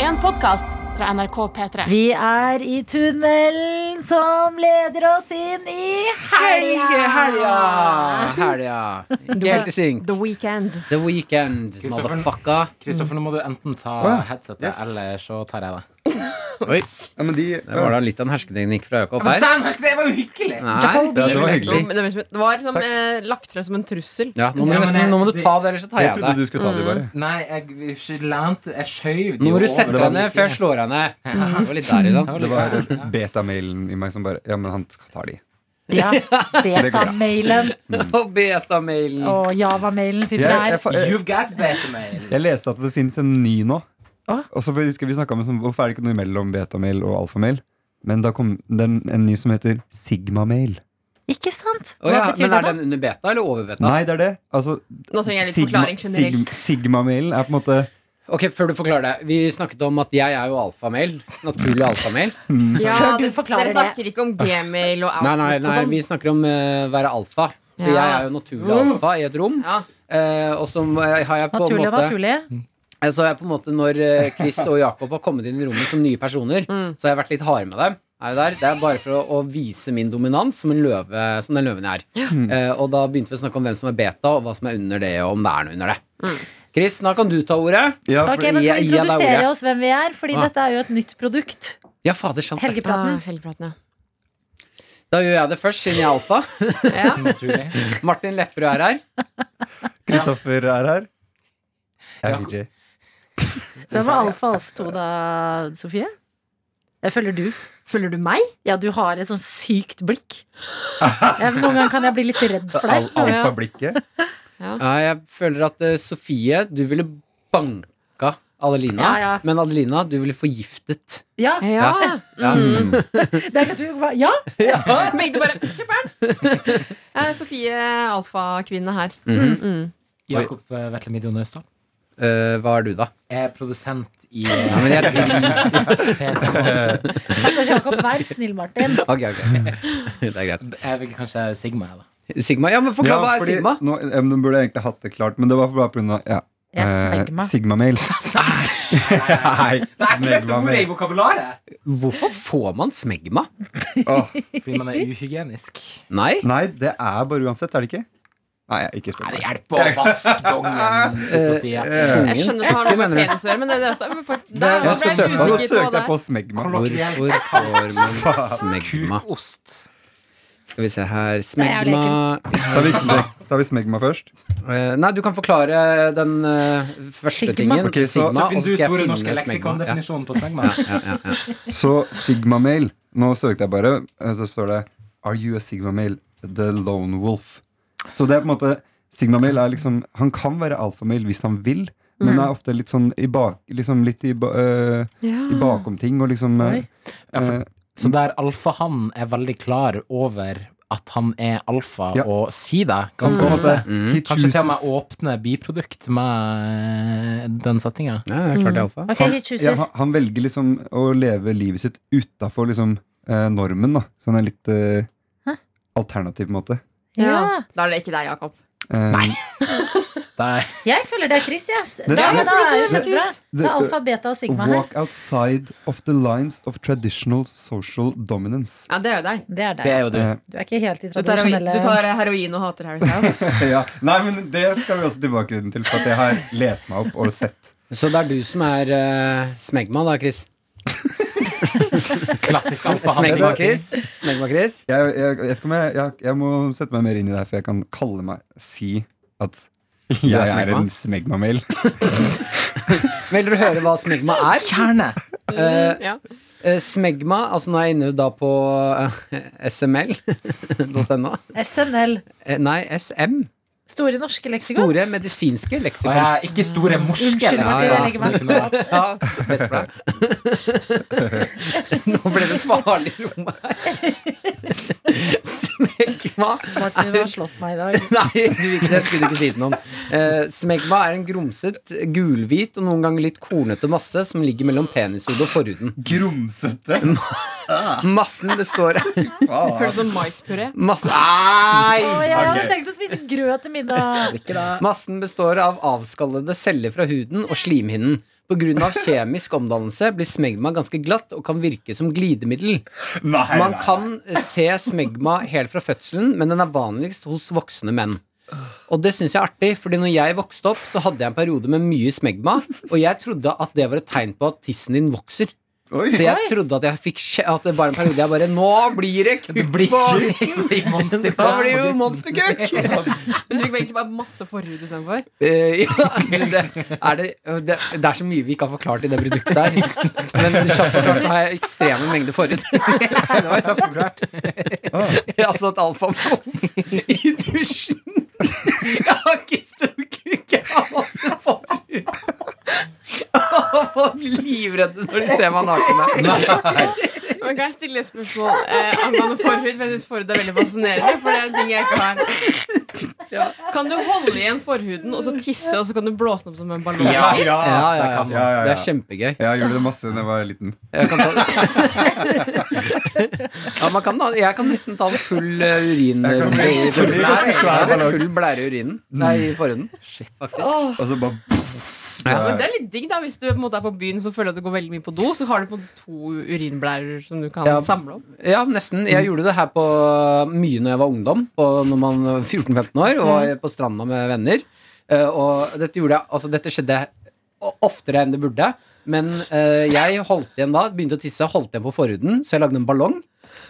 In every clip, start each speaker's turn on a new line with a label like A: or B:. A: en podkast fra NRK P3.
B: Vi er i tunnelen som leder oss inn i
C: Helge,
B: helga!
C: helga! Helga. Ikke helt i synk.
D: The Weekend.
C: The Weekend,
E: Kristoffer-
C: motherfucker.
E: Kristoffer, nå må du enten ta
F: Åja,
E: headsetet,
F: yes.
E: eller så tar jeg det.
C: Oi,
F: Ja, men de,
C: det var da litt av en hersketeknikk fra Jakob her.
E: det var jo hyggelig!
C: Nei,
B: Jacobi.
C: det vil jeg
F: hyggelig.
C: ikke
D: Jo,
C: si.
D: men Det var liksom- det var liksom, eh, lagt frem som en trussel.
C: Ja, nå, må
E: Ja,
C: du
E: men
C: nesten,
E: jeg-
C: nå må du ta det, ellers så tar
F: jeg
C: jeg
F: trodde
C: det.
F: du skulle ta de bare.
E: Nei, jeg ikke lente Jeg skjøv
C: Nå må du sette
F: Det var
C: henne
E: litt-
C: før jeg slår henne. Det var litt der i dag.
F: Det var betamailen i meg som bare Ja, men han tar de.
B: Ja,
F: det går bra.
B: Beta-mailen
C: Og betamailen.
B: og Java-mailen sitter
F: Jeg, jeg,
B: der.
F: fa- jeg,
E: You've got better mail.
F: jeg leste at det finnes en ny nå.
B: Åh?
F: Og så husker vi snakket om sånn, Hvorfor er det ikke noe mellom betamail og alfamail? Men da kom den, en ny som heter sigmamail.
B: Ikke sant?
C: Å
B: Hva
C: ja,
B: betyr
C: men
B: det
C: er
B: da?
C: den under beta eller over beta?
F: Nei, det er det. Altså,
D: Nå trenger jeg litt
F: sigma-
D: forklaring generelt.
F: sigm- Sigmamailen er på en måte
C: Ok, Før du forklarer det. Vi snakket om at jeg er jo alfamail. Naturlig alfamail.
B: Før du
D: dere-
B: forklarer
D: Dere snakker ikke om gmail og
C: Nei, nei,
D: outlook og
C: nei,
D: sånn.
C: vi snakker om eh, være alfa. Så
D: Ja.
C: jeg er jo naturlig alfa i et rom.
D: Ja.
C: eh, og så eh, har jeg på en
B: Naturlig og
C: måte
B: naturlig.
C: Eh, Så har jeg på en måte Når eh, Chris og Jakob har kommet inn i rommet som nye personer,
B: Mm.
C: så har jeg vært litt hard med dem. Er det, der? det er bare for å, å vise min dominans som, en løve, som den løven jeg er. Eh, og da begynte vi å snakke om hvem som er beta, og hva som er under det, og om det er noe under det.
B: Mm.
C: Chris, nå kan du ta ordet.
F: ja,
B: Ok,
F: for,
B: men Skal vi
C: jeg- jeg er
B: introdusere
C: ordet.
B: oss hvem vi er? Fordi
C: Ah.
B: dette er jo et nytt produkt.
C: Ja, fader, sant. det.
B: Helgepraten.
D: Ah, Helgepraten, ja.
C: Da gjør jeg det først, siden jeg er alfa.
E: Naturlig.
C: Martin Lepperød er her.
F: Kristoffer er her. Jeg
E: Ja.
F: er VJ.
B: Hvem var alfa oss to da, Sofie? Jeg følger du.
D: Følger du meg?
B: Ja, du har et sånn sykt blikk. Jeg, noen ganger kan jeg bli litt redd for
F: Al
B: deg.
F: Alfablikket.
C: Ja, jeg føler at eh, Sofie, du ville banka Adelina.
B: Ja, ja.
C: Men Adelina, du ville forgiftet.
B: Ja,
C: Ja. Mm. Ja.
B: Mm. det er ikke at du, ja,
D: Men ikke bare Kjøperen! Eh, Sofie Alfa-kvinne her.
C: Mhm.
D: Mm.
E: Jakob eh, Vetle Midjo Naustdal.
C: Eh, hva er du, da?
E: Er produsent i eh,
C: Ja, men jeg
E: P3.
B: Stakkars Jakob, vær snill, Martin.
C: Ok, ok. Det er greit.
E: Jeg vil kanskje Sigma, jeg, da.
C: Sigma? Ja, men forklar
F: Ja,
C: hva er
F: fordi
C: Sigma?
F: Nå, ja, men du burde egentlig hatt det klart, men det var bare pga. Ja,
B: Jeg
F: eh,
B: smegger meg.
F: Sigmamail. Nei, smegmamail.
E: vokabularet!
C: Hvorfor får man smegma?
F: Åh,
E: Fordi man er uhygienisk.
C: Nei?
F: Nei, det er bare uansett, er det ikke? Nei, jeg- ikke spør.
E: Hjelp å vaske dongen, skulle jeg si. ja.
C: Ungen,
D: Jeg skjønner at det har noe
C: mener
D: med
C: du?
D: penis å gjøre, men det, det er også men for, der,
C: Jeg
D: ble
C: skal
D: jeg
C: søke
F: Og så
D: usikker på
F: søkte jeg
D: det.
F: på smegma.
C: Hvorfor får man smegma?
E: Kukost.
C: Skal vi se
B: Det
C: her
B: er
C: Smegma
F: Tar vi, smeg- tar vi smegma først?
C: Eh, Nei, du kan forklare den eh, første
B: Sigma.
C: tingen.
F: Ok, så-
C: Sigma,
E: Så
C: og
E: finner
C: så
E: du
C: skal
E: Store
C: jeg
E: norske
C: finne
E: leksikon
C: smegma. Ja,
E: definisjonen på smegma.
C: ja, ja, ja.
F: Så sigmamail. Nå søkte jeg bare, eh, så står det Are you a sigmamail? The lone wolf. Så det er på en måte Sigmamail er liksom Han kan være alfamail hvis han vil, men
D: Mm.
F: er ofte litt sånn i bak, liksom litt i, ba, eh, i
D: Mm.
F: bakom ting og liksom eh,
B: Oi.
E: Ja, for-
F: eh,
E: Så der alfahannen er veldig klar over at han er alfa,
F: Ja.
E: og sier det ganske
F: på en
E: ofte.
F: måte,
C: Mm.
F: he
E: Kanskje til og
F: chooses-
E: med åpne biprodukt med eh, den settinga.
C: ja, det er klart det er alfa.
B: Ok,
F: Han-
B: he
F: Ja,
B: chooses.
F: han, han velger liksom å leve livet sitt utafor liksom, eh, normen, da. Så han er litt eh, alternativ, på en måte.
B: Ja.
D: Da er det ikke deg, Jakob.
F: Eh,
E: Det
B: Jeg føler det er Chris, yes.
F: Det-
B: Da, men da er det
F: Det-
B: kjempebra.
F: det-
B: Det er alfa, beta og sigma her.
F: Walk outside of the lines of traditional social dominance.
D: Ja, det er jo deg. sånn
B: Det er
E: det
B: deg.
E: er jo du.
F: Eh,
B: Du er ikke helt i
D: Du tar,
B: tradisjonelle
D: du tar heroin og hater Harry Styles.
F: ja. Nei, men det skal vi også tilbake til, for at jeg har lest meg opp og sett.
C: Så det er du som er eh, smegma, da, Chris?
E: Klassisk alfahann.
C: Smegma, Chris? Smegma, Chris?
F: Jeg, jeg, jeg vet ikke om jeg, jeg, jeg må sette meg mer inn i det her, for jeg kan kalle meg si at jeg
C: er
F: er
C: smegma?
F: en smegmamail.
C: Vil dere høre hva smegma er?
E: Kjerne.
C: Eh,
D: Ja.
C: eh, smegma, altså nå er jeg inne da på eh, sml.no.
B: SNL.
C: Eh, nei, SM.
B: Store norske leksikon.
C: Store medisinske
E: Og
C: leksikon.
E: jeg er ikke store morske.
B: Unnskyld,
C: Ja,
B: Martin,
C: ja.
B: jeg legger meg flat.
C: Ja, best for deg. Nå ble det farlig i rommet her. Smegma
B: Martin, du har slått meg i dag.
C: Nei, du, det skulle du ikke si til noen. Eh, smegma er en grumset, gulhvit og noen ganger litt kornete masse som ligger mellom penishodet og forhuden.
F: Grumsete!
C: Massen består av
D: Hører du sånn maispuré?
C: masse, Nei!
B: Å, jeg hadde
F: Ok.
B: tenkt å spise grøt til middag.
C: Massen består av avskallede celler fra huden og slimhinnen. Pga. kjemisk omdannelse blir smegma ganske glatt og kan virke som glidemiddel.
G: Nei,
C: Man
G: nei.
C: kan eh, se smegma helt fra fødselen, men den er vanligst hos voksne menn. Og det syns jeg er artig, fordi når jeg vokste opp, så hadde jeg en periode med mye smegma, og jeg trodde at det var et tegn på at tissen din vokser.
G: Oi.
C: Så jeg trodde at jeg fikk skje- At det var en periode jeg bare Nå blir det kukk
E: blir
C: på
E: kukk.
C: ryggen!
E: Monster
C: Da blir det jo monsterkukk!
D: Men du fikk vel egentlig bare masse forhud istedenfor?
C: Eh, ja, det, er det, det, det er så mye vi ikke har forklart i det produktet der. Men kjapt forklart så har jeg ekstreme mengder forhud.
E: Det var så forklart.
C: altså et alfamol i dusjen. Jeg har ikke stor kuk, jeg har masse forhud. Og folk er livredde når de ser meg naken.
D: Men kan jeg stille et spørsmål eh, angående forhud? For jeg synes forhud er veldig fascinerende. For det er en ting jeg ikke har. Kan du holde igjen forhuden og så tisse, og så kan du blåse den opp som en ballong?
G: Ja, ja.
C: Ja, ja, ja.
F: Ja, ja, ja.
C: Det er kjempegøy.
F: Jeg gjorde det masse da jeg var liten.
C: Jeg kan, ta... ja, man kan, da- jeg kan nesten ta en full eh, urin
F: Jeg kan bli-
C: i
F: bli ganske svær
C: forhuden.
F: ballong.
C: Full blære i urinen. Nei, i forhuden. Faktisk.
F: Og så bare
D: Ja, men det er litt digg da Hvis du på en måte er på byen så føler du at du går veldig mye på do, så har du på en måte to urinblærer som du kan
C: Ja.
D: samle opp.
C: Ja, nesten. Jeg gjorde det her på mye når jeg var ungdom, på, når man var 14-15 år, og var på stranda med venner. Eh, og dette, gjorde jeg, altså, dette skjedde o- oftere enn det burde. Men eh, jeg holdt igjen da, begynte å tisse, holdt igjen på forhuden, så jeg lagde en ballong.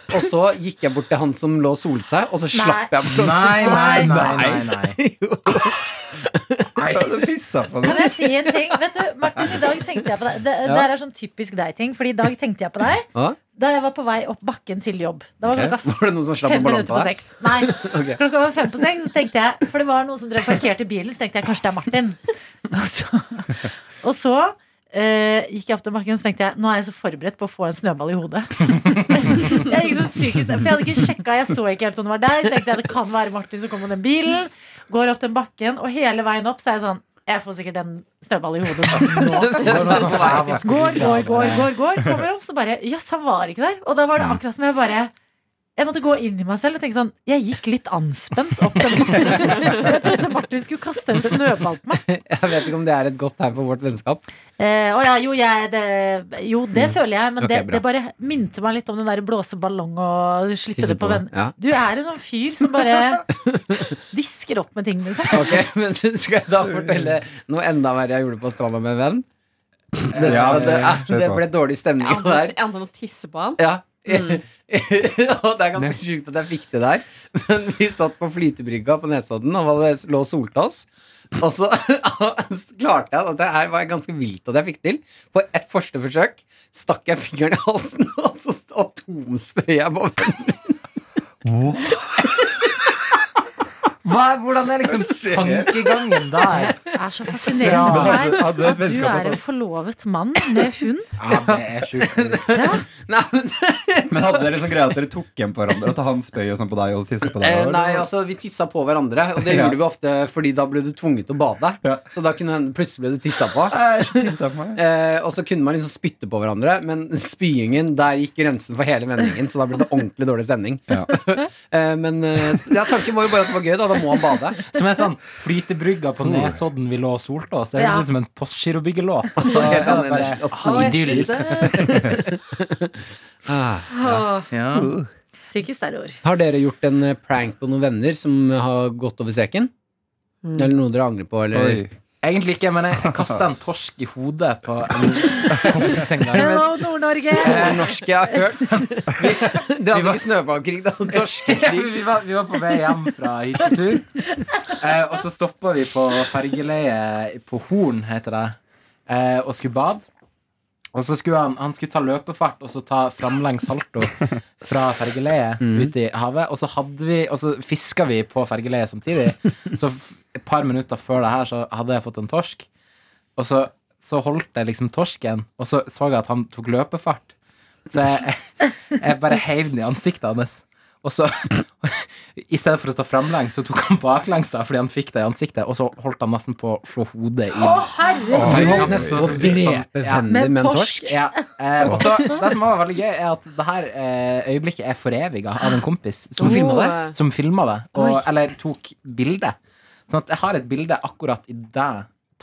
C: Og så gikk jeg bort til han som lå og solte seg, og så slapp jeg ballongen.
E: Nei, nei, nei, nei, nei.
F: Du pissa på
B: Kan
F: den.
B: jeg si en ting? Vet du, Martin, i dag tenkte jeg på deg. Det,
C: Ja.
B: det her er sånn typisk deg-ting. Fordi i dag tenkte jeg på deg
C: Ja.
B: da jeg var på vei opp bakken til jobb. Da var
C: Ok.
B: klokka
C: Var det noen som slapp
B: Fem
C: en ballong
B: minutter
C: på
B: på
C: deg?
B: seks. Nei. Klokka var fem på seks, så tenkte jeg For det var noen som drev parkerte bilen, så tenkte jeg kanskje det er Martin. Og så, og så eh, gikk jeg opp til bakken og så tenkte jeg nå er jeg så forberedt på å få en snøball i hodet. jeg gikk så psykisk For jeg hadde ikke sjekka, jeg så ikke helt om det var deg. Så tenkte jeg det kan være Martin som kom med den bilen. Går opp den bakken, og hele veien opp så er jeg sånn Jeg får sikkert en snøball i hodet. nå. Går, går, går, går, går Kommer opp, så bare Jøss, han var ikke der. Og da var det akkurat som jeg bare jeg måtte gå inn i meg selv og tenke sånn Jeg gikk litt anspent opp den bakken. Jeg trodde Martin skulle kaste en snøball på meg.
C: Jeg vet ikke om det er et godt tegn for vårt vennskap.
B: Eh, å ja, jo, jeg, det, jo, det føler jeg, men
C: Mm. Ok,
B: det,
C: bra.
B: det bare minte meg litt om den der blåse ballong og slippe
C: Tisse
B: det på
C: på,
B: venner.
C: ja.
B: Du er en sånn fyr som bare disker opp med liksom. tingene sine.
C: Ok, men Skal jeg da fortelle noe enda verre jeg gjorde på stranda med en venn? Det,
F: Ja,
C: det, det,
F: kjør på.
C: ble dårlig stemning
D: Jeg
C: av det Mm. her.
D: antar- jeg antar å tisse på han.
C: Ja. og det er ganske sjukt at jeg fikk det der. Men vi satt på flytebrygga på Nesodden og var- lå og solte oss. Og så klarte jeg at det her var ganske vilt at jeg fikk til. På et første forsøk stakk jeg fingeren i halsen, og så atomspøy jeg på vennen.
E: Hva, hvordan er liksom tankegangen der?
B: Det er så fascinerende for
E: Ja.
B: meg
F: Hadde et
B: at du
F: vennskap
B: er en forlovet mann med hund.
E: Ja, det er sjukt.
C: Nei, men
F: Men hadde dere sånn greie at dere tok hjem på hverandre? At han spøy og sånn på deg og tisset på deg?
C: Eh,
F: eller?
C: nei, altså Vi tissa på hverandre, og det
F: Ja.
C: gjorde vi ofte fordi da ble du tvunget til å bade.
F: Ja.
C: Så da kunne det hende plutselig ble du tissa på.
F: Æsj, tissa på meg.
C: Eh, og så kunne man liksom spytte på hverandre, men spyingen, der gikk grensen for hele vendingen. Så da ble det ordentlig dårlig stemning.
F: Ja.
C: Eh, men eh, ja, tanken var jo bare at det var gøy, da. Da må han bade.
E: Som er sånn flytebrygga på Nesodden vi lå og solte oss. Det høres ut som en Postgirobyggelåt.
C: Så helt annen
E: bare-
C: energi. Og-
E: Ha idyll.
C: Ah.
E: Ja.
B: Psykisk terror.
C: Har dere gjort en eh, prank på noen venner som har gått over streken? Eller noe dere angrer på? Eller?
F: Oi.
E: Egentlig ikke, men jeg kasta en torsk i hodet på en kompis en gang.
B: Hello, Nord-Norge!
C: Det norske jeg har hørt. Dere hadde ikke snøballkrig, da. Norske
E: Ja,
C: krig.
E: men vi, var, vi var på vei hjem fra hyttetur, eh, og så stoppa vi på fergeleiet på Horn, heter det, eh, og skulle bade. Og så skulle han, han skulle ta løpefart og så ta framlengs salto fra fergeleiet
C: Mm.
E: ut i havet. Og så hadde vi, og så fiska vi på fergeleiet samtidig. Så f et par minutter før det her så hadde jeg fått en torsk. Og så, så holdt jeg liksom torsken, og så så jeg at han tok løpefart. Så jeg, jeg bare heiv den i ansiktet hans. Og så, i stedet for å ta framlengs, så tok han baklengs, da, fordi han fikk det i ansiktet. Og så holdt han nesten på å slå hodet i
B: Å, herregud!
C: Du holdt nesten på å drepe
E: Ja.
C: vennen din med en torsk.
E: Ja. Eh, og så, det som var veldig gøy, er at det her eh, øyeblikket er foreviga av en kompis som
C: Som filmet
E: filma det.
C: det?
E: Som filmet det og, eller tok bilde. Sånn at jeg har et bilde akkurat i det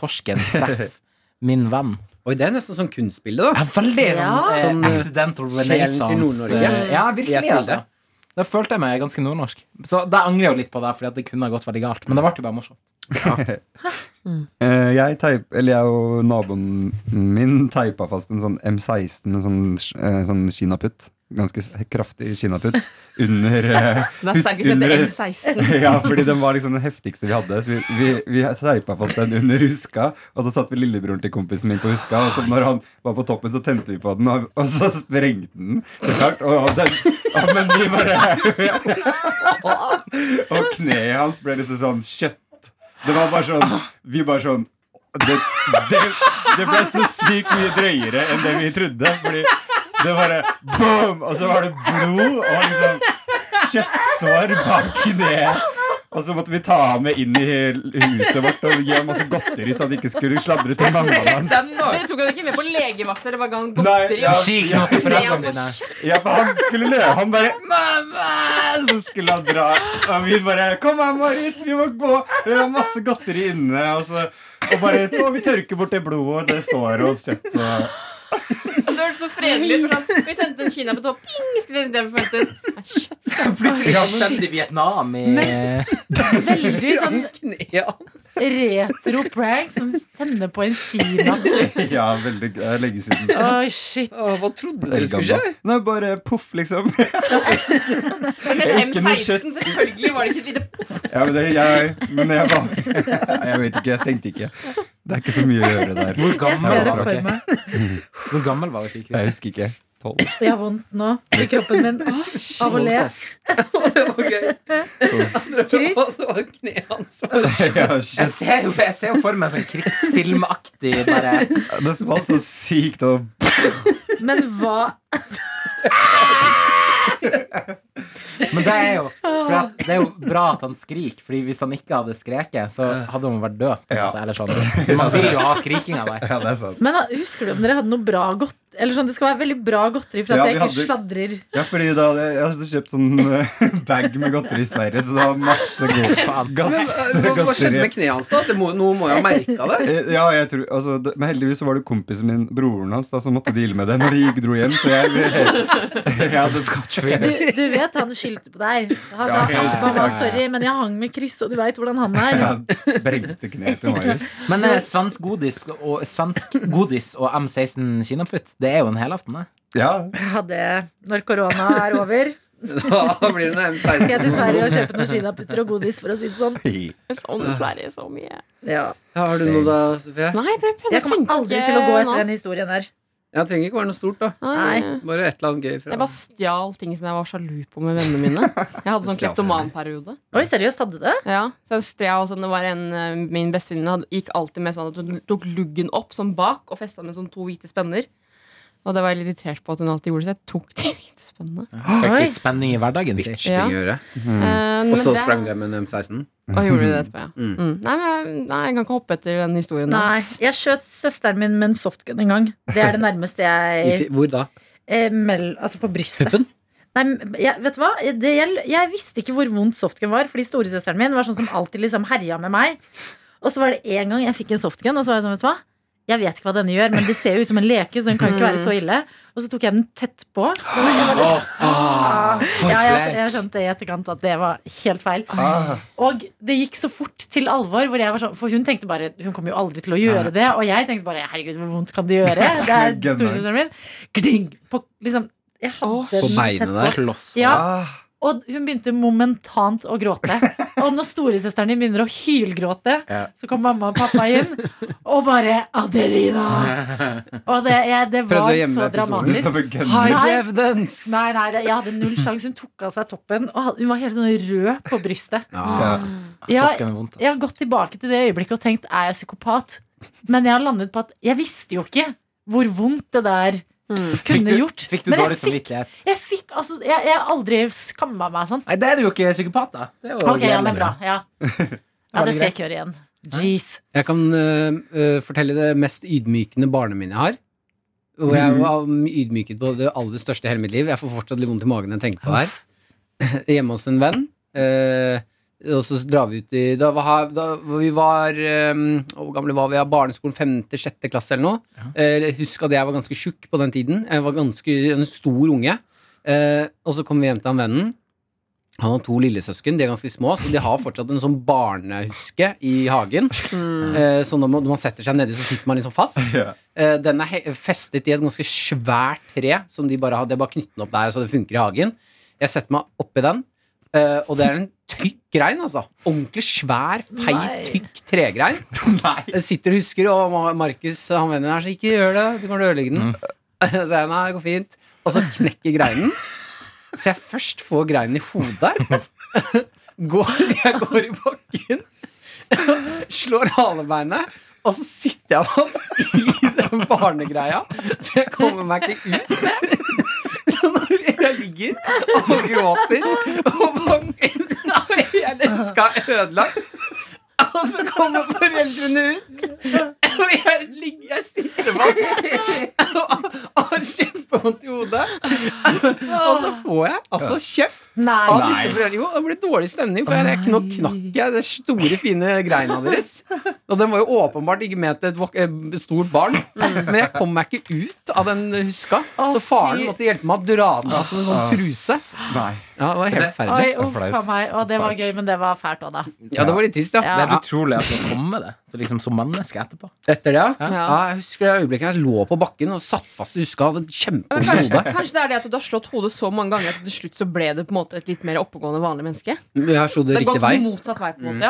E: torsken treffer min venn.
C: Oi, det er nesten som kunstbilde, da.
E: Ja, veldig
B: Ja.
E: sånn eh,
C: Sånn, eh,
E: accidental
C: sjelen til
E: renaissance.
C: Nord-Norge.
E: eh, Ja, virkelig,
C: I et bilde.
E: altså. Da følte jeg meg ganske nordnorsk. Så det angrer jeg jo litt på, da, fordi at det kunne ha gått veldig galt. Men det ble jo bare morsomt.
F: Eh, jeg, teip, eller jeg og naboen min teipa fast en sånn M16, en sånn, eh, sånn kinaputt. Ganske s- kraftig kinaputt. Under eh,
D: Det er sterkest etter M16.
F: Ja, fordi den var liksom den heftigste vi hadde. Så vi, vi, vi teipa fast den under huska, og så satt vi lillebroren til kompisen min på huska, og så når han var på toppen, så tente vi på den, og, og så sprengte den. Så klart, og, den og, men vi bare Og kneet hans ble liksom sånn kjøtt. Det var bare sånn Vi bare sånn Det, det, det ble så sykt mye drøyere enn det vi trodde. Fordi det bare boom! Og så var det blod og liksom kjøttsår bak kneet. Og så måtte vi ta ham med inn i huset vårt og gi ham masse godteri, så han ikke skulle sladre til mammaen hans.
D: Dere tok han ikke med på legevakt eller bare ga han
F: Nei,
D: godteri?
F: ja,
E: Skik nå til
D: foreldrene dine.
E: foreldrene dine.
F: Ja, for han skulle løpe. Han bare 'Mamma!' Så skulle han dra. Og vi bare 'Kom her, Marius, vi må gå.' Vi har masse godteri inne. Og, så, og bare «Å, vi tørker bort det blodet og det såret og kjøttet. og-
D: Det hørtes så fredelig ut. for sånn, Vi tente en kina på topp. Ping, skulle den den forventes. Nei, Kjøtt.
E: Plutselig har sendt til Vietnam i
B: Veldig sånn
C: Ja.
B: retro prank. Sånn tenne på en kina.
F: Ja, veldig det er lenge siden.
B: Oi, shit.
C: Å, Hva trodde dere skulle skje?
F: Nei, bare poff, liksom.
D: Men en
F: Ikke noe kjøtt.
D: M16, selvfølgelig var det ikke et lite
F: Ja, men, det, jeg, men jeg var Jeg vet ikke. Jeg tenkte ikke. Det er ikke så mye å gjøre der.
E: Hvor
B: Jeg
E: gammel
B: ser det
E: var
B: for
E: dere?
B: meg.
E: Hvor gammel var dere?
F: Jeg
E: Kristin?
F: husker ikke. Tolv.
B: Jeg har vondt nå i kroppen min av å le.
C: Det var gøy.
B: Chris?
C: Og så var kneet hans var
F: Ja,
E: Jeg
F: shit.
E: ser jo, jeg ser jo for meg en sånn krigsfilmaktig bare
F: Det smalt så sykt og
B: Men hva
E: Men det er jo for at, Det er jo bra at han skriker, Fordi hvis han ikke hadde skreket, så hadde han vært død. På en
F: Ja.
E: måte, eller sånn. Man vil jo ha skrikinga der.
F: Ja, det er sant.
B: Men da, husker du om dere hadde noe bra godt Eller sånn, Det skal være veldig bra godteri for at
F: Ja,
B: jeg
F: vi
B: ikke
F: hadde-
B: sladrer.
F: Ja, fordi da hadde jeg, jeg hadde kjøpt sånn eh, bag med godteri i Sverige, så det var masse god
E: Faen.
F: godt-
C: Men, eh, hva, hva skjedde med kneet hans, da? Det må, noe må jo ha merka det.
F: Eh, Ja, jeg tror, altså, det, men heldigvis så var det kompisen min, broren hans, da, som måtte deale med det når de gikk dro hjem. Så jeg, jeg hadde
B: Du, du vet han skyldte på deg. Han sa
F: Ja, ja, ja.
B: mamma, sorry, men jeg hang med Chris, og du veit hvordan han er.
F: jeg sprengte kneet til Marius.
E: Men eh, svensk godis og, svensk godis og M16 kinaputt, det er jo en helaften, det.
F: Ja,
B: Jeg hadde, når korona er over,
C: Da blir det noe
B: skal jeg til
C: M16.
B: Sverige og kjøpe noen kinaputter og godis, for å si det sånn.
D: Sånn Sverige så mye.
B: Ja.
C: Har du noe da, Sofie?
D: Nei, jeg prøvde
B: Jeg kommer aldri til å gå etter den historien der.
C: Jeg trenger ikke være noe stort, da.
D: Nei.
B: Nei.
C: Bare et eller annet gøy
D: Jeg
C: fra
D: bare stjal ting som jeg var sjalu på med vennene mine. Jeg hadde sånn
C: Stjal fra
D: kleptomanperiode.
B: Oi, seriøst, hadde du det?
D: Ja, så jeg stjal sånn, det var en eh, Min bestevenninne hadde- gikk alltid med sånn at hun tok luggen opp sånn bak og festa med sånn to hvite spenner. Og det var jeg litt irritert på at hun alltid gjorde, så jeg tok de hvite spennene.
E: Fikk litt spenning i hverdagen, si.
C: Bitch, ting å gjøre.
D: Eh,
C: Mm.
D: men
C: Og så
D: det-
C: sprang dere med en M16.
D: Og gjorde det etterpå, ja.
C: Mm.
D: Mm. Nei, men, jeg- nei, jeg kan ikke hoppe etter den historien.
B: Nei.
D: ass.
B: Jeg skjøt søsteren min med en softgun en gang. Det er det nærmeste jeg
C: I- Hvor da?
B: eh, mell, Altså på brystet.
C: Puppen?
B: Nei, men jeg, vet du hva? Det, jeg, jeg visste ikke hvor vondt softgun var, fordi storesøsteren min var sånn som alltid liksom herja med meg. Og så var det en gang jeg fikk en softgun, og så var jeg sånn, vet du hva? Jeg vet ikke hva denne gjør, men det ser jo ut som en leke, så den kan jo ikke være så ille. Og så tok jeg den tett på. Ja, jeg, skj- jeg skjønte i etterkant at det var helt feil.
F: Ah,
B: Og det gikk så fort til alvor, hvor jeg var sånn, for hun tenkte bare Hun kommer jo aldri til å gjøre det. Og jeg tenkte bare herregud, hvor vondt kan det gjøre? Det er
F: Gønner.
B: storesøsteren min. Gling! På, liksom, jeg
D: Åh,
B: hadde
C: På
B: den tett
C: beinet
B: på.
C: der.
B: Ja,
F: ah,
B: og hun begynte momentant å gråte. Og når storesøsteren din begynner å hylgråte,
E: Ja.
B: så kom mamma og pappa inn og bare 'Adelina!' Og det, jeg, det
C: Prøvde å
B: var
C: gjemme
B: så
C: episoden.
F: du
B: dramatisk.
F: stopper gønnen.
B: Nei.
C: Hide evidence!
B: Nei, nei, det- jeg hadde null sjanse. Hun tok av seg toppen, og had- hun var helt sånn rød på brystet.
C: Ja.
F: Ja.
B: Ja,
E: Sofken er vondt, altså.
B: Jeg har
E: ass.
B: gått tilbake til det øyeblikket og tenkt 'er jeg psykopat?' Men jeg har landet på at jeg visste jo ikke hvor vondt det der
E: Fikk
B: kunne
E: du-
B: gjort.
E: Fikk du
B: Men jeg
E: dårlig
B: fikk-
E: samvittighet?
B: Jeg fikk altså Jeg jeg har aldri skamma meg sånn.
E: Nei, det er du jo ikke psykopat, da. Det er jo
B: Ok, ja, men
E: jævlig
B: bra. Ja. ja, det skal jeg
E: greit.
B: ikke gjøre igjen. Jeez.
C: Jeg kan øh, øh, fortelle det mest ydmykende barneminnet jeg har. Hvor jeg var ydmyket på det aller største i hele mitt liv. Jeg får fortsatt litt vondt i magen når jeg tenker på det her. Hjemme hos en venn. øh, Og så drar vi ut i Da, var, her- da vi var ehm, Hvor gamle var vi? Ja, barneskolen 5.-6. klasse eller noe. Eh, husk at jeg var ganske tjukk på den tiden. Jeg var ganske en stor unge. Eh, og så kom vi hjem til han vennen. Han har to lillesøsken, de er ganske små, så de har fortsatt en sånn barnehuske i hagen. Eh, så når man, når man setter seg nedi, så sitter man liksom fast.
F: Ja.
C: Eh, Den er he- festet i et ganske svært tre som de bare har, de har bare knyttet den opp der, så det funker i hagen. Jeg setter meg oppi den, eh, og det er en tykk grein, altså. Ordentlig svær, feit, tykk tregrein. Jeg sitter og husker, og Ma- Markus, han vennen her, så ikke gjør det, du kommer til å ødelegge den. Så jeg, nei, det går fint. Og så knekker greinen. Så jeg først får greinen i hodet. Går, jeg går i bakken, slår halebeinet, og så sitter jeg fast i den barnegreia. Så jeg kommer meg ikke ut. Så når jeg ligger og gråter, og bakken av hele eska er ødelagt og så kommer foreldrene ut, og jeg, ligger, jeg sitter fast og og har kjempevondt i hodet. Og så får jeg altså kjeft av
B: Nei.
C: disse foreldrene. Jo, det ble dårlig stemning, for jeg, nå knakk jeg det store, fine greina deres. Og den var jo åpenbart ikke ment til et vok eh, stort barn, men jeg kom meg ikke ut av den huska. Så faren måtte hjelpe meg å dra den av som en sånn truse.
F: Nei.
C: Ja, det var helt
B: Oi,
C: forferdelig.
F: er
B: uff a
F: flaut.
B: meg. Og det var gøy, men det var fælt òg, da.
C: Ja, det var litt trist, ja.
B: Ja.
E: Det er helt utrolig at du kom med det. Så liksom som menneske etterpå.
C: Etter det, ja.
E: Ja.
C: ja. Jeg husker det øyeblikket jeg lå på bakken og satt fast i huska. Hadde
D: Men
C: kjempevondt i
D: kanskje,
C: hodet.
D: kanskje det er det at du har slått hodet så mange ganger at til slutt så ble du på en måte et litt mer oppegående vanlig menneske?
C: Jeg slo
D: Det
C: det
D: har
C: riktig
D: gått
C: vei. Mm.
D: motsatt vei, på en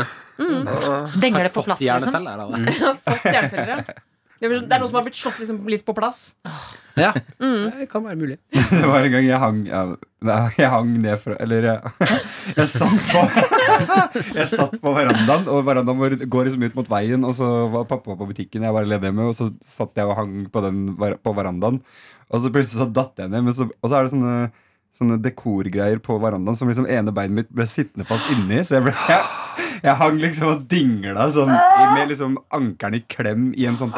D: måte.
B: Denger
E: Har
B: det på
E: fått
B: plass, liksom.
E: hjerneceller av det.
D: Ja. Fått hjerneceller, ja. Det er det er noe som har blitt slått liksom litt på plass.
C: Ja.
D: Mm.
C: Det kan være mulig.
F: Det var en gang jeg hang ja, nei, Jeg hang ned fra Eller jeg, jeg satt på Jeg satt på verandaen, og verandaen vår går liksom ut mot veien. Og så var pappa på butikken, jeg var alene hjemme, og så satt jeg og hang på, den, ver- på verandaen. Og så plutselig så datt jeg ned. Men så, og så er det sånne Sånne dekorgreier på verandaen som liksom ene beinet mitt ble sittende fast inni. Så jeg, ble, jeg, jeg hang liksom og dingla sånn i- med liksom ankelen i klem i en sånn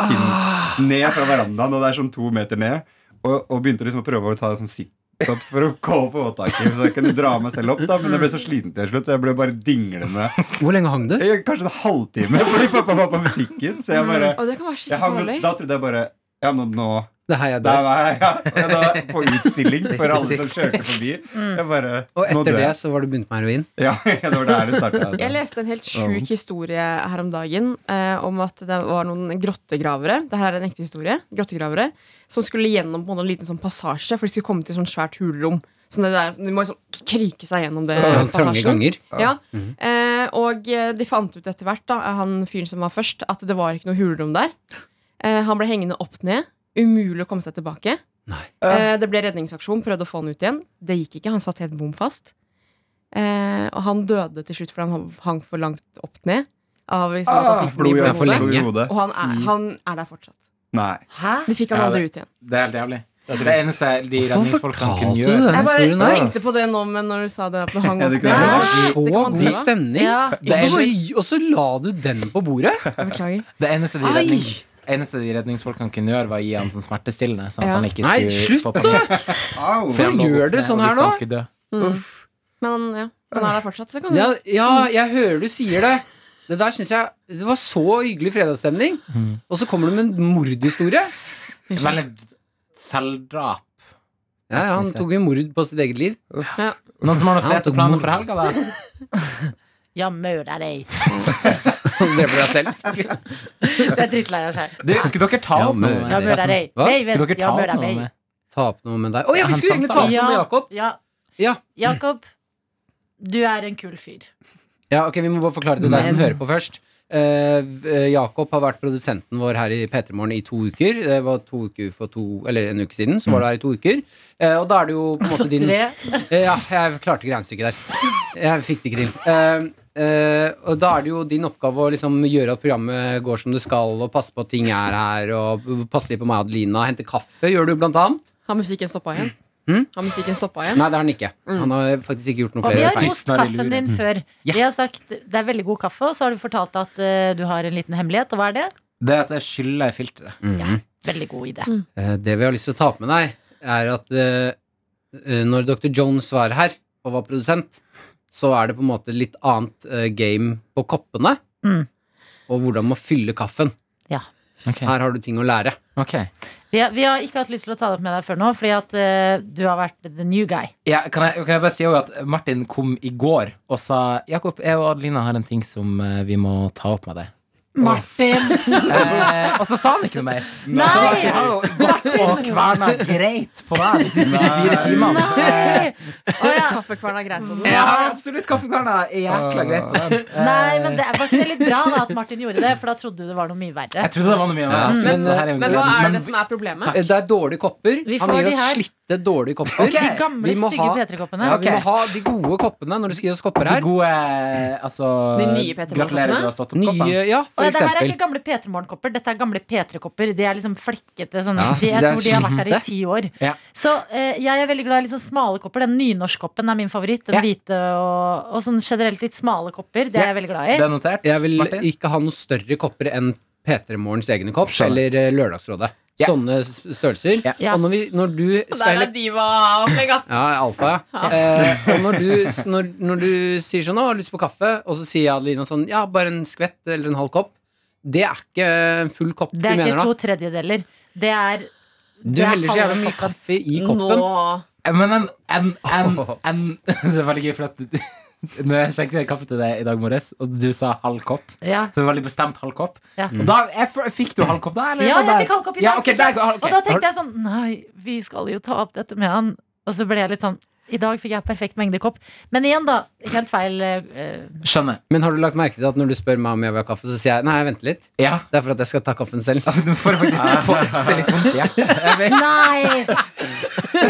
F: tinn ned fra verandaen, og det er sånn to meter ned. Og, og begynte liksom å prøve å ta sånn situps for å gå på våttaket. Så jeg kunne dra meg selv opp, da, men jeg ble så sliten til slutt. Så jeg ble bare dinglende.
C: Hvor lenge hang du?
F: Jeg- Kanskje en halvtime, fordi pappa var på butikken. Så jeg bare
D: Og det kan være
F: jeg
D: Mm. skikkelig
F: hang,
D: farlig.
F: Da trodde jeg bare Ja, nå, nå
C: Det er her jeg
F: Der
C: dør.
F: var jeg, ja. Jeg var på utstilling for alle som kjørte forbi.
D: Mm.
F: Jeg bare
C: Og
F: nå
C: etter
F: dør
C: det
F: jeg.
C: så var du begynt med heroin.
F: Ja, det var der
D: Jeg
F: det starta.
D: leste en helt
F: Ja,
D: sjuk
F: vondt.
D: historie her om dagen eh, om at det var noen grottegravere Dette er en ekte historie. Grottegravere Som skulle gjennom på en måte en liten sånn passasje, for de skulle komme til et sånn svært hulrom. Sånn det der, de må liksom kryke seg gjennom det.
C: Ja, Trange
D: passasjen.
C: ganger.
D: Ja. Eh, og eh, de fant ut etter hvert, da, han fyren som var først, at det var ikke noe hulrom der. Eh, han ble hengende opp ned. Umulig å komme seg tilbake.
C: Nei.
D: Eh, det ble redningsaksjon, prøvde å få han ut igjen. Det gikk ikke, han satt helt bom fast. Eh, og han døde til slutt fordi han hang for langt opp ned. Av, liksom, at han fikk for mye
F: Ah, Blod i
C: Ja, for
D: blod i hodet.
C: lenge.
F: blod i hodet.
D: Og han er, han er der fortsatt.
F: Nei.
B: Hæ?
D: De fikk han
E: Ja,
D: aldri ut igjen.
E: Det er helt jævlig. Det, er det eneste de
C: Hvorfor
E: redningsfolkene
C: fortalte
E: kunne
C: du
E: gjøre.
C: den
D: Jeg bare
C: historien der?
D: tenkte på det nå, men når du sa det at han hang
F: Ja,
D: opp ned
F: det kunne
C: Det var
F: Ja.
C: så
D: Det kan man
C: god
D: dra.
C: stemning.
B: Ja.
C: Og så bare- Og så la du den på bordet?
D: Jeg Beklager.
E: Det eneste de,
C: Ai!
E: redning, eneste de redningsfolkene kunne gjøre, var å gi han sånn smertestillende. Sånn at
D: Ja.
E: han ikke
C: Nei,
E: skulle
C: slutt
E: få panikk.
F: Au.
E: For han lå
C: gjør
E: opp
C: det
E: ned,
C: sånn
E: og
C: her
E: hvis
C: nå?
E: han skulle dø.
D: Men han, ja, han er der fortsatt, så det kan
C: Ja,
D: du
C: ja jeg hører du sier det. Det der synes jeg Det var så hyggelig fredagsstemning.
E: Mm.
C: Og så kommer du med en mordhistorie.
E: Veldig selvdrap.
C: Ja, ja, han tok jo mord på sitt eget liv.
E: Noen som har noen
C: Han
E: fete
C: tok
E: planer
C: mord.
E: for helga, da?
B: Ja, møla deg.
C: Og så dreper du deg selv.
B: Det er drittlei av seg.
E: Du, skulle dere ta
C: Ja,
E: opp noe?
C: men-
B: Ja,
E: med det? sånn-
B: møla deg.
C: Hva?
B: Nei,
E: Skulle
B: vent,
E: dere
B: ja,
E: ta opp
B: møla
E: noe
B: deg.
E: med
C: Ta opp noe med deg. Å ja,
E: Han
C: vi skulle egentlig ta opp noe med Jakob.
B: Ja,
C: Ja.
B: Jakob. Du er en kul fyr.
C: ja, ok, Vi må bare forklare til deg som hører på først. Eh, eh, Jakob har vært produsenten vår her i P3 Morgen i to uker. Det var to uker for to, eller en uke siden. Så var du her i to uker. Eh, og da er det jo på en måte din
B: Altså Tre.
C: Eh, Ja, jeg klarte ikke regnestykket der. Jeg fikk det ikke til. Eh, eh, og da er det jo din oppgave å liksom gjøre at programmet går som det skal, og passe på at ting er her, og passe litt på meg og Adelina. Hente kaffe gjør du, blant annet.
D: Har musikken stoppa igjen?
C: Mm?
D: Har musikken stoppa igjen?
C: Nei, det har han ikke. Han har faktisk ikke gjort noe
B: Og vi
C: flere
B: har
C: feil.
B: rost kaffen din før. Vi har sagt det er veldig god kaffe, og så har du fortalt at eh, du har en liten hemmelighet. Og hva er det?
E: Det at jeg skyller filteret.
C: Mm.
B: Veldig god idé.
C: Eh, Det vi har lyst til å ta opp med deg, er at eh, eh, når Dr. Jones var her og var produsent, så er det på en måte litt annet eh, game på koppene.
B: Mm.
C: Og hvordan man fyller kaffen.
E: Ok.
C: Her har du ting å lære.
E: Ok.
B: Vi har, vi har ikke hatt lyst til å ta det opp med deg før nå, fordi at eh, du har vært the new guy.
E: Ja, kan, jeg, kan jeg bare si også at Martin kom i går og sa Jakob, jeg og Adelina har en ting som eh, vi må ta opp med deg.
B: Martin!
E: Eh, og så sa han ikke noe mer.
B: Nei!
E: Så jeg har jo gått og kverna greit på deg de siste 24 timene.
B: Nei! Å ja.
D: Kaffekvern er greit på den.
E: Jeg har absolutt kaffekverna jækla greit på den.
B: Nei, men det var ikke det litt bra da at Martin gjorde det, for da trodde du det var noe mye verre.
E: Jeg trodde det var noe mye
C: Ja,
E: mer.
C: men-
E: så her er jo
D: Men hva
E: greit.
D: er det
E: Men-
D: som er problemet?
C: Eh, Det er dårlige kopper.
B: Vi
C: Han
B: får
C: gir
B: de
C: oss
B: her.
C: slitte, dårlige kopper.
B: De gamle,
C: Vi må
B: stygge
C: ha-
B: P3-koppene.
C: Ja,
E: ok.
C: Vi må ha de gode koppene når du skal gi oss kopper
E: De
C: her.
E: gode altså,
D: De nye Peter
E: Gratulerer,
D: Morgenkoppene?
E: du har stått opp koppen.
C: Nye, ja,
B: Å
C: for
B: ja, det her er
C: eksempel.
B: ikke gamle P3-morgenkopper, dette er gamle P3-kopper. De er liksom flekkete sånn.
C: Ja,
B: de, jeg
C: det er
B: tror de har vært der i
C: slitne.
B: ti år.
E: Ja.
B: Så eh, jeg er veldig glad i liksom smale kopper. Den nynorskkoppen er min favoritt. Den
E: Ja.
B: hvite og, og sånn generelt litt smale kopper. Det er jeg veldig glad i.
E: Det er notert.
C: Jeg vil
E: Martin?
C: ikke ha noen større kopper enn P3 Morgens egne kopp eller
E: Skjønner.
C: eh, Lørdagsrådet.
E: Ja.
C: Sånne s- størrelser.
B: Ja.
C: Og når, vi, når du
D: Der
C: skal helle
D: er diva-opplegg, ass.
C: Ja, alfa. ja. Eh, og når du, s- når, når du sier sånn 'Å, jeg har lyst på kaffe', og så sier Adelina sånn 'Ja, bare en skvett eller en halv kopp', det er ikke en full kopp
B: Det er
C: du mener
B: ikke
C: da.
B: to tredjedeler. Det er
C: Du
B: det er
C: heller så
B: halve
C: jævla mye
B: koppen.
C: kaffe i
D: Nå
C: koppen.
E: Men en, en, en, en Det er veldig gøy, for at Når jeg skjenket kaffe til deg i dag morges, og du sa halv kopp
B: Ja.
E: Så det var veldig bestemt halv kopp.
B: Ja.
C: Mm.
E: Og da, jeg, f- fikk du halv kopp da? eller
B: Ja,
E: var
B: jeg
E: det-
B: fikk halv kopp i dag.
E: Mm. Ja, ok,
B: fikk jeg.
E: der- ah, ok.
B: Og da tenkte jeg sånn Nei, vi skal jo ta opp dette med han. Og så ble jeg litt sånn I dag fikk jeg perfekt mengde kopp. Men igjen, da. Helt feil. eh,
E: Skjønner.
C: Men har du lagt merke til at når du spør meg om jeg vil ha kaffe, så sier jeg 'Nei, jeg venter litt'.
E: Ja.
C: Det er for at jeg skal ta kaffen selv.
E: Du får faktisk på ekte litt vondt i hjertet. Jeg vet,
B: Nei!